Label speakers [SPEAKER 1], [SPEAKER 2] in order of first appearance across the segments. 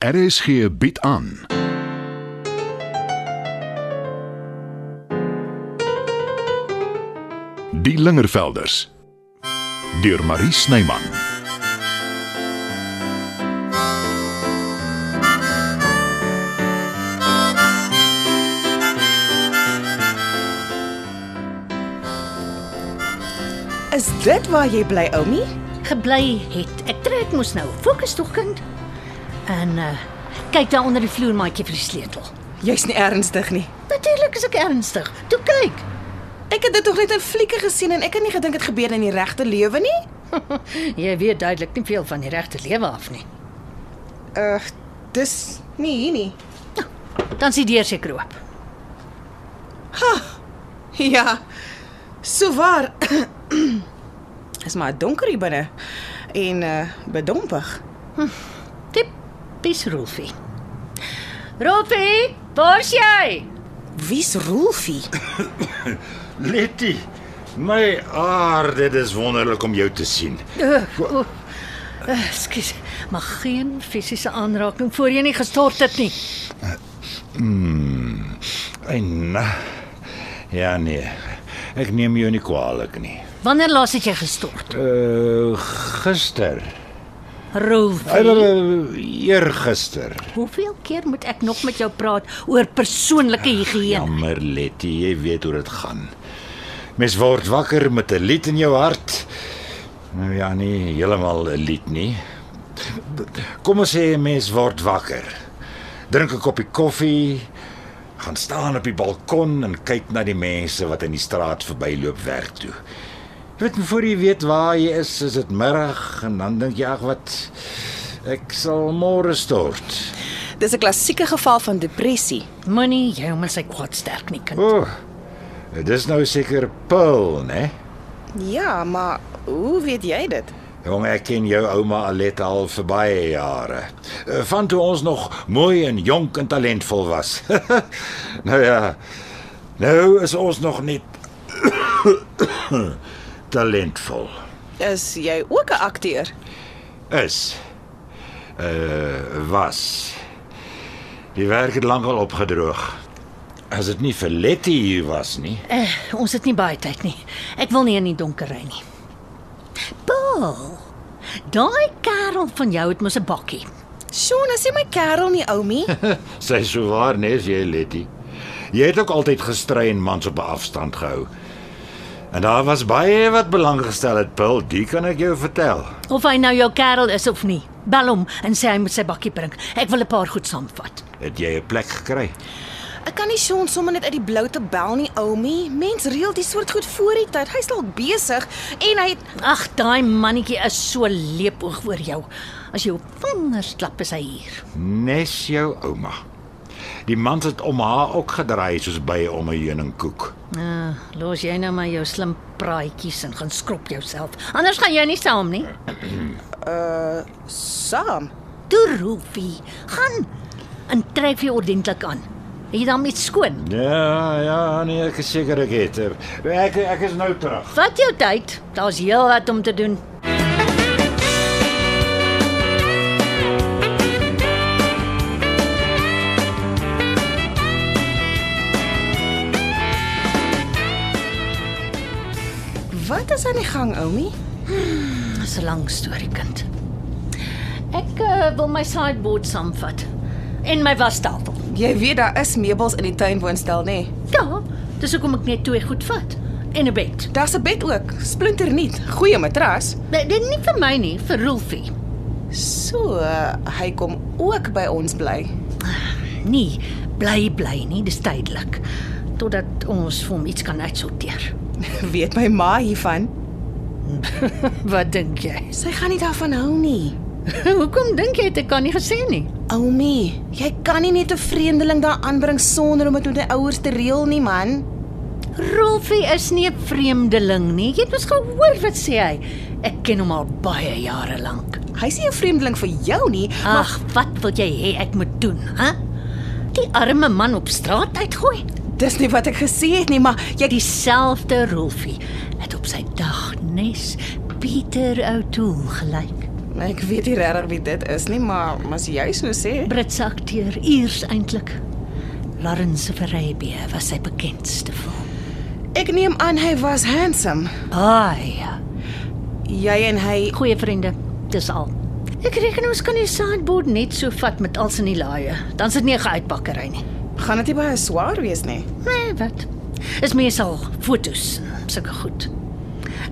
[SPEAKER 1] RSG bied aan. Die Lingervelders deur Marie Snyman.
[SPEAKER 2] Is dit waar jy bly, Oumi?
[SPEAKER 3] gebly het. Ek trek mos nou. Fokus tog kind. En uh kyk daar onder die vloermaatjie vir die sleutel.
[SPEAKER 2] Jy's nie ernstig nie.
[SPEAKER 3] Natuurlik is ek ernstig. Toe kyk.
[SPEAKER 2] Ek het dit tog net in flieke gesien en ek het nie gedink dit gebeur in die regte lewe nie.
[SPEAKER 3] Jy weet duidelik nie veel van die regte lewe af nie.
[SPEAKER 2] Uh, dis nie hier nie.
[SPEAKER 3] Dan sien deur seker oop.
[SPEAKER 2] Ja. So waar. Is maar donker hier binne en uh bedompig.
[SPEAKER 3] Tip pis Rolfie. Rolfie, waar's jy?
[SPEAKER 2] Wie's Rolfie?
[SPEAKER 4] Letty, my aarde, dit is wonderlik om jou te sien.
[SPEAKER 3] Uh, Eh, Skus, maar geen fisiese aanraking voor jy nie gestort het nie.
[SPEAKER 4] En ja nee, ek neem jou nie kwaadlik nie.
[SPEAKER 3] Wanneer laas het jy gestort?
[SPEAKER 4] Uh gister.
[SPEAKER 3] Rolfie,
[SPEAKER 4] Uh, eergister.
[SPEAKER 3] hoeveel keer moet ek nog met jou praat oor persoonlike higiëne?
[SPEAKER 4] Jammer Letty, jy weet hoe dit gaan. Mens word wakker met 'n lied in jou hart. Nou ja nee, heeltemal 'n lied nie. Kom ons sê 'n mens word wakker. Drink 'n koppie koffie, gaan staan op die balkon en kyk na die mense wat in die straat verbyloop werk toe. Jy weet voor jy weet waar jy is, is dit middag en dan dink jy ag wat ek sal môre stort.
[SPEAKER 2] Dis 'n klassieke geval van depressie.
[SPEAKER 3] Moenie jou met sy kwaad sterk nie kind.
[SPEAKER 4] O. Oh, dis nou seker Paul, né?
[SPEAKER 2] Ja, maar hoe weet jy dit?
[SPEAKER 4] Jong, ek ken jou ouma Aletta al vir baie jare. Eh, Van toe ons nog mooi en jonk en talentvol was. nou ja. Nou is ons nog net talentvol.
[SPEAKER 2] Is jy ook 'n akteur?
[SPEAKER 4] Is uh was. Die werk het lankal opgedroog. As dit nie vir Letty hier was nie.
[SPEAKER 3] Uh, ons het nie baie tyd nie. Ek wil nie in die donker ry nie. Paul. Daai kerel van jou het mos 'n bakkie.
[SPEAKER 2] Shona, sê my kerel nie, Oumi.
[SPEAKER 4] Sy sou waar nes jy Letty. Jy het ook altyd gestry en mans op 'n afstand gehou. En daar was baie wat belang gestel het, Bill, dit kan ek jou vertel.
[SPEAKER 3] Of hy nou jou kerel is of nie. Bel hom en sê hy moet sy bakkie bring. Ek wil 'n paar goed saamvat.
[SPEAKER 4] Het jy 'n plek gekry?
[SPEAKER 2] Ek kan nie Sean sommer net uit die blou te bel nie, Oumi. Mens reël die soort goed voor die tyd. Hy's dalk besig en hy het
[SPEAKER 3] Ag, daai mannetjie is so leepoog oor jou. As jy op vingers klap is hy hier.
[SPEAKER 4] Nes jou ouma. Die man het om haar ook gedraai soos by om 'n heuningkoek.
[SPEAKER 3] Uh, los jy nou maar jou slim praatjies en gaan skrop jouself. Anders gaan jy nie saam nie.
[SPEAKER 2] saam.
[SPEAKER 3] Toe Rolfie, gaan en trek vir jou ordentlik aan. Het jy dan met skoon?
[SPEAKER 4] Ja, ja, nee, ek is seker ek het. er. Ek ek is nou terug.
[SPEAKER 3] Vat jou tyd. Daar's heelwat om te doen.
[SPEAKER 2] Wat is aan die gang, Oumi?
[SPEAKER 3] Dis 'n lang storie, kind. Ek uh, wil my sideboard saamvat en my wastafel.
[SPEAKER 2] Jy weet daar is meubels in die tuinwoonstel, nê? Nee.
[SPEAKER 3] Ja, dis hoekom ek net twee goed vat en 'n bed.
[SPEAKER 2] Daar's 'n bed ook, splinternuut, goeie matras.
[SPEAKER 3] Nee, Dit nie vir my nie, vir Rolfie.
[SPEAKER 2] So, uh, hy kom ook by ons bly.
[SPEAKER 3] Nee, bly bly nie, dis tydelik. Totdat ons vir hom iets kan uitsorteer.
[SPEAKER 2] Weet my ma hiervan?
[SPEAKER 3] Wat dink jy?
[SPEAKER 2] Sy gaan nie daarvan hou nie.
[SPEAKER 3] hoekom dink jy het ek kan nie gesê nie?
[SPEAKER 2] Oumi, jy kan nie net 'n vreemdeling daar aanbring sonder om dit met sy ouers te reël nie, man.
[SPEAKER 3] Rolfie is nie 'n vreemdeling nie. Jy het mos gehoor wat sê hy. Ek ken hom al baie jare lank.
[SPEAKER 2] Hy's nie 'n vreemdeling vir jou nie, maar
[SPEAKER 3] Ag, wat wil jy hê ek moet doen, hè? Die arme man op straat uitgooi.
[SPEAKER 2] dis nie wat ek gesê het nie, maar jy
[SPEAKER 3] Dieselfde Rolfie het op sy dag nes Pieter O'Toole gelyk.
[SPEAKER 2] Ek weet nie regtig wie dit is nie, maar maar as jy so sê,
[SPEAKER 3] Britse akteur, Iers eintlik. Lawrence of Arabia was sy bekendste film.
[SPEAKER 2] ek neem aan hy was handsome.
[SPEAKER 3] Ai, ja.
[SPEAKER 2] Jy en hy
[SPEAKER 3] goeie vriende, dis al. Ek reken ons kan die sandboard net so vat met als in die laaie. Dan sit nie 'n uitpakkery nie.
[SPEAKER 2] gaan dit nie baie swaar wees nie.
[SPEAKER 3] Nee, wat? Is meesal fotos, sulke goed.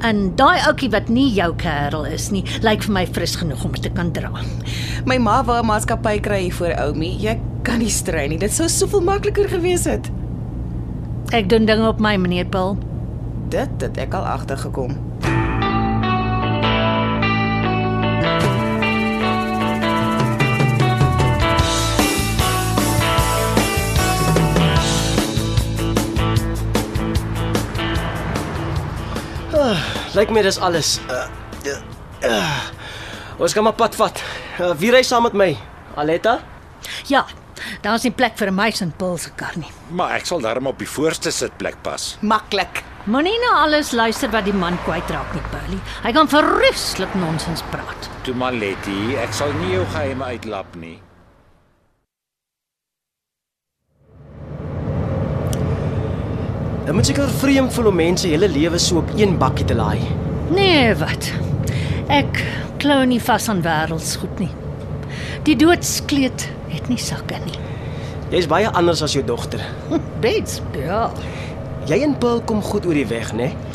[SPEAKER 3] En daai ouetjie wat nie jou kerel is nie, lyk vir my fris genoeg om te kan dra.
[SPEAKER 2] My ma wou 'n maatskappy kry vir Oumi. Jy kan nie strei nie. Dit sou soveel makliker gewees het.
[SPEAKER 3] Ek doen dinge op my manier, Paul.
[SPEAKER 2] Dit het ek al agtergekom.
[SPEAKER 5] Lyk my dis alles. Uh, uh, uh. Ons gaan maar pad vat. Uh, wie ry saam met my? Aletta?
[SPEAKER 3] Ja, daar's nie plek vir 'n meisie in Paul se kar nie.
[SPEAKER 4] Maar ek sal darm op die voorste sitplek pas.
[SPEAKER 2] Maklik.
[SPEAKER 3] Moenie na alles luister wat die man kwytraak nie, Paulie. Hy kan verruslik nonsens praat.
[SPEAKER 4] Toe maar Letty, ek sal nie jou geheime uitlap nie.
[SPEAKER 5] Dit moet seker vreemd voel om mense hele lewe so op een bakkie te laai.
[SPEAKER 3] Nee, wat? Ek klou nie vas aan wêreldsgoed nie. Die doodskleed het nie sakke nie.
[SPEAKER 5] Jy's baie anders as jou dogter.
[SPEAKER 3] Bets, ja.
[SPEAKER 5] Jy en Paul kom goed oor die weg, né? Nee?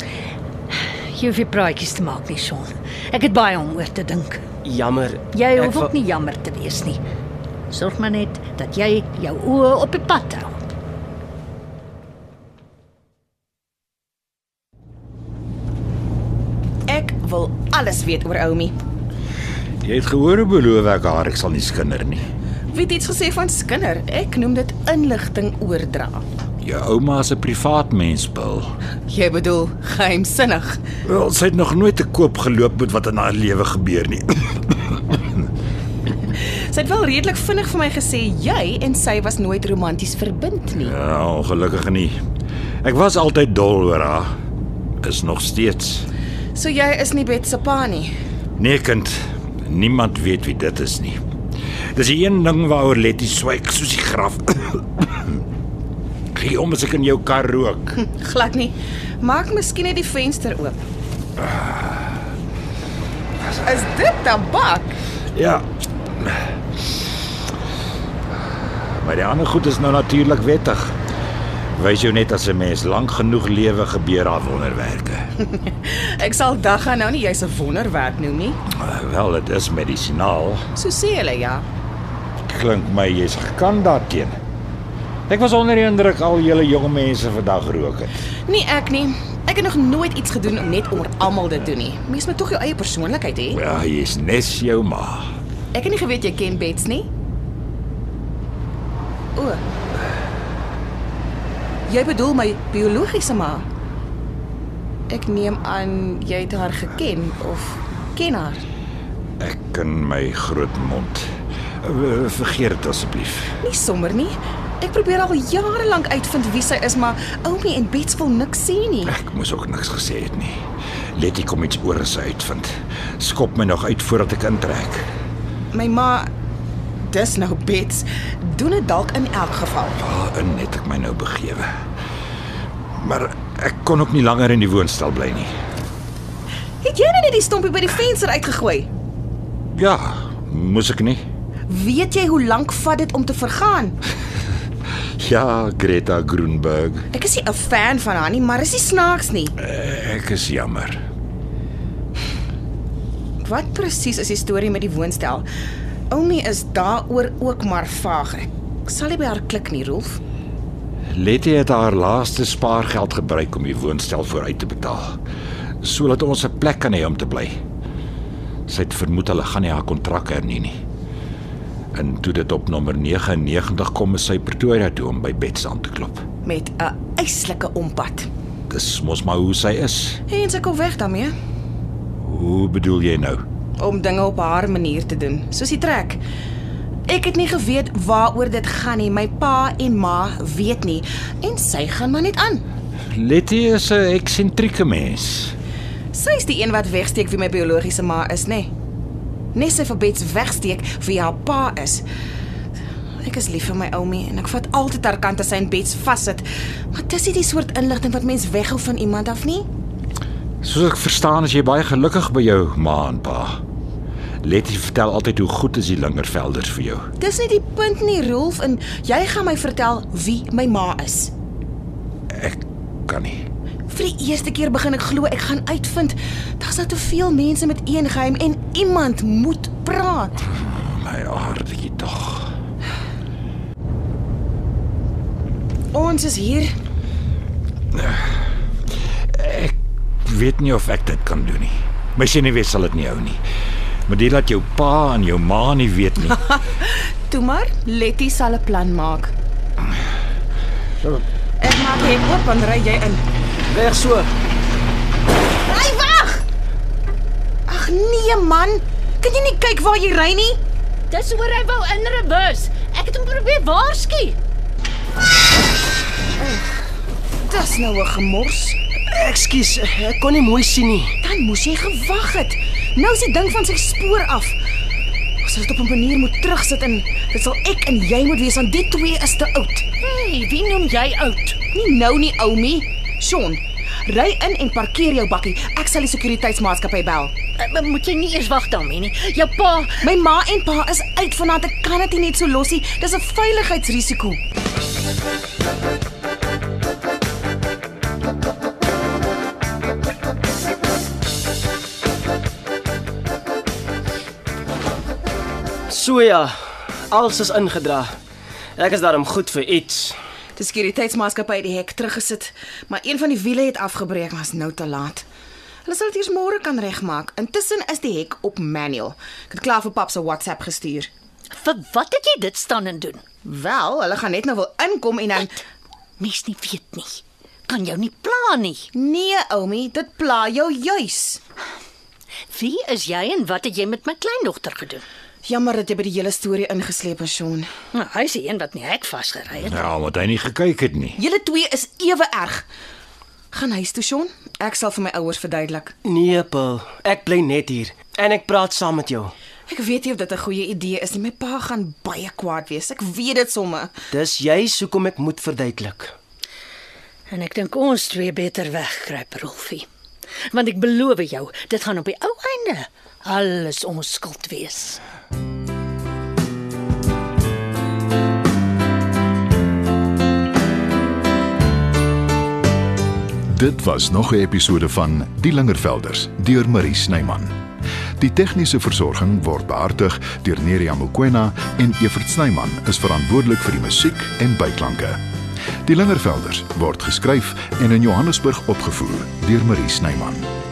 [SPEAKER 3] Jy hoef nie praatjies te maak nie, Sean. Ek het baie om oor te dink.
[SPEAKER 5] Jammer.
[SPEAKER 3] Jy
[SPEAKER 5] ek
[SPEAKER 3] hoef
[SPEAKER 5] wil-
[SPEAKER 3] ook nie jammer te wees nie. Sorg maar net dat jy jou oë op die pad hou.
[SPEAKER 2] Ek wil alles weet oor Oumi.
[SPEAKER 4] Jy het gehoor hoe beloof ek haar ek sal nie skinder nie.
[SPEAKER 2] Wie het iets gesê van skinder? Ek noem dit inligting oordra.
[SPEAKER 4] Jou ouma is 'n privaat mens, Bill.
[SPEAKER 2] Jy bedoel geheimsinnig.
[SPEAKER 4] Wel, sy het nog nooit te koop geloop met wat in haar lewe gebeur nie.
[SPEAKER 2] Sy het wel redelik vinnig vir my gesê jy en sy was nooit romanties verbind nie.
[SPEAKER 4] Ja, ongelukkig nie. Ek was altyd dol oor haar. Is nog steeds.
[SPEAKER 2] So jy is nie Bet se pa nie.
[SPEAKER 4] Nee, kind, niemand weet wie dit is nie. Dis die een ding waaroor Letty swyg soos die graf. Gee om as ek in jou kar rook.
[SPEAKER 2] Glad nie. Maak miskien net die venster oop. Is dit tabak?
[SPEAKER 4] Ja. Maar die ander goed is nou natuurlik wettig. Wys jou net as 'n mens lank genoeg lewe gebeur daar wonderwerke.
[SPEAKER 2] Ek sal dag gaan nou nie jy's 'n wonderwerk noem nie.
[SPEAKER 4] Uh, Wel, dit is medisinaal.
[SPEAKER 2] So sê hulle ja.
[SPEAKER 4] Klink my jy's gekan daarteen. Ek was onder die indruk al julle jong mense vandag rook het.
[SPEAKER 2] Nee ek nie. Ek het nog nooit iets gedoen om net oor almal dit doen nie. Mens moet tog jou eie persoonlikheid hê.
[SPEAKER 4] Ja, jy's nes jou ma.
[SPEAKER 2] Ek het nie geweet jy ken Bets nie. O. Jy bedoel my biologiese ma. Ek neem aan jy het haar geken of ken haar.
[SPEAKER 4] Ek ken my groot mond. Uh, Vergeet dit asseblief.
[SPEAKER 2] Nie sommer nie. Ek probeer al jare lank uitvind wie sy is, maar Oumi en Bets wil niks sê nie.
[SPEAKER 4] Ek moes ook niks gesê het nie. Letty kom iets oor as hy uitvind. Skop my nog uit voordat ek intrek.
[SPEAKER 2] My ma dis nou Bets. Doen dit dalk in elk geval.
[SPEAKER 4] Waarin het ek my nou begewe? Maar ek kon ook nie langer in die woonstel bly nie.
[SPEAKER 2] Het jy nou net die stompie by die venster uitgegooi?
[SPEAKER 4] Ja, moes ek nie.
[SPEAKER 2] Weet jy hoe lank vat dit om te vergaan?
[SPEAKER 4] Ja, Greta Grunberg.
[SPEAKER 2] Ek is nie 'n fan van haar nie, maar is nie snaaks nie.
[SPEAKER 4] Eh, Ek is jammer.
[SPEAKER 2] Wat presies is die storie met die woonstel? Oumi is daaroor ook maar vaag. Ek sal nie by haar klik nie, Rolf.
[SPEAKER 4] Letty het haar laaste spaargeld gebruik om die woonstel vooruit te betaal, sodat ons 'n plek kan hê om te bly. Sy het vermoed hulle gaan nie haar kontrak hernie nie. En toe dit op nommer 99 kom, is sy Pretoria toe om by Bets aan te klop.
[SPEAKER 2] met 'n yslike ompad.
[SPEAKER 4] Dis mos maar hoe sy is.
[SPEAKER 2] En sy kom weg daarmee
[SPEAKER 4] Hoe bedoel jy nou?
[SPEAKER 2] om dinge op haar manier te doen, soos die trek. Ek het nie geweet waaroor dit gaan nie. My pa en ma weet nie en sy gaan maar net aan.
[SPEAKER 4] Letty is 'n eksentrieke mens.
[SPEAKER 2] Sy's die een wat wegsteek wie my biologiese ma is, nê? Nes sy vir Bets wegsteek vir haar pa is. Ek is lief vir my oumie en ek vat altyd haar kant as sy in Bets vassit. Maar dis nie die soort inligting wat mens weghou van iemand af nie.
[SPEAKER 4] Soos ek verstaan is jy baie gelukkig by jou ma en pa. Letty vertel altyd hoe goed is die Lingervelders vir jou.
[SPEAKER 2] Dis nie die punt nie, Rolf, en jy gaan my vertel wie my ma is.
[SPEAKER 4] Ek kan nie.
[SPEAKER 2] Vir die eerste keer begin ek glo ek gaan uitvind daar's nou te veel mense met een geheim en iemand moet praat.
[SPEAKER 4] My aardetjie tog.
[SPEAKER 2] Ons is hier.
[SPEAKER 4] Weet nie of ek dit kan doen nie. My sien nie weet sal dit nie hou nie. Maar dit laat jou pa en jou ma nie weet nie.
[SPEAKER 2] Toe maar, Letty sal 'n plan maak. Ek maak hom oop en ry jy in.
[SPEAKER 5] Weg so.
[SPEAKER 2] Ry wag. Ag nee man, kan jy nie kyk waar jy ry nie?
[SPEAKER 3] Dis oor hy wou in reverse. Ek het hom probeer waarsku.
[SPEAKER 2] Dis nou 'n gemors.
[SPEAKER 5] Ekskuus, ek kon nie mooi sien nie.
[SPEAKER 2] Dan moes jy gewag het. Nou is die ding van sy spoor af. Ons sal dit op 'n manier moet terugsit en dit sal ek en jy moet wees want die twee is te oud.
[SPEAKER 3] Hey, wie noem jy oud?
[SPEAKER 2] Nie nou nie, Oumi. Sean, ry in en parkeer jou bakkie. Ek sal die sekuriteitsmaatskappy bel.
[SPEAKER 3] Uh, moet jy nie eers wag daarmee nie. Jou pa
[SPEAKER 2] My ma en pa is uit vanaand. Ek kan dit nie net so los nie. Dis 'n veiligheidsrisiko.
[SPEAKER 5] So ja, alles is ingedra. Ek is daarom goed vir iets.
[SPEAKER 2] Die sekuriteitsmaatskappy het die hek teruggesit, maar een van die wiele het afgebreek, maar is nou te laat. Hulle sal dit eers môre kan regmaak. Intussen is die hek op manual. Ek het klaar vir pap se WhatsApp gestuur.
[SPEAKER 3] Vir wat het jy dit staan en doen?
[SPEAKER 2] Wel, hulle gaan net nou wil inkom en dan
[SPEAKER 3] Mens nie weet nie. Kan jou nie pla nie.
[SPEAKER 2] Nee, Oumi, dit pla jou juis.
[SPEAKER 3] Wie is jy en wat het jy met my kleindogter gedoen?
[SPEAKER 2] Jammer dat jy by die hele storie ingesleep is, Sean.
[SPEAKER 3] Nou, hy is die een wat nie hek vasgery het.
[SPEAKER 4] Ja, omdat hy nie gekyk het nie.
[SPEAKER 2] Julle twee is ewe erg. Gaan huis toe, Sean. Ek sal vir my ouers verduidelik.
[SPEAKER 5] Nee, Paul, ek bly net hier en ek praat saam met jou.
[SPEAKER 2] Ek weet nie of dit 'n goeie idee is nie. My pa gaan baie kwaad wees. Ek weet dit somme.
[SPEAKER 5] Dis juis hoekom ek moet verduidelik.
[SPEAKER 3] En ek dink ons twee beter wegkruip, Rolfie. Want ek beloof jou, dit gaan op die ou einde alles ons skuld wees.
[SPEAKER 1] Dit was nog 'n episode van Die Lingervelders deur Marie Snyman. Die tegniese versorging word behartig deur Neriya Mkwena en Evert Snyman is verantwoordelik vir die musiek en byklanke. Die Lingervelders word geskryf en in Johannesburg opgevoer deur Marie Snyman.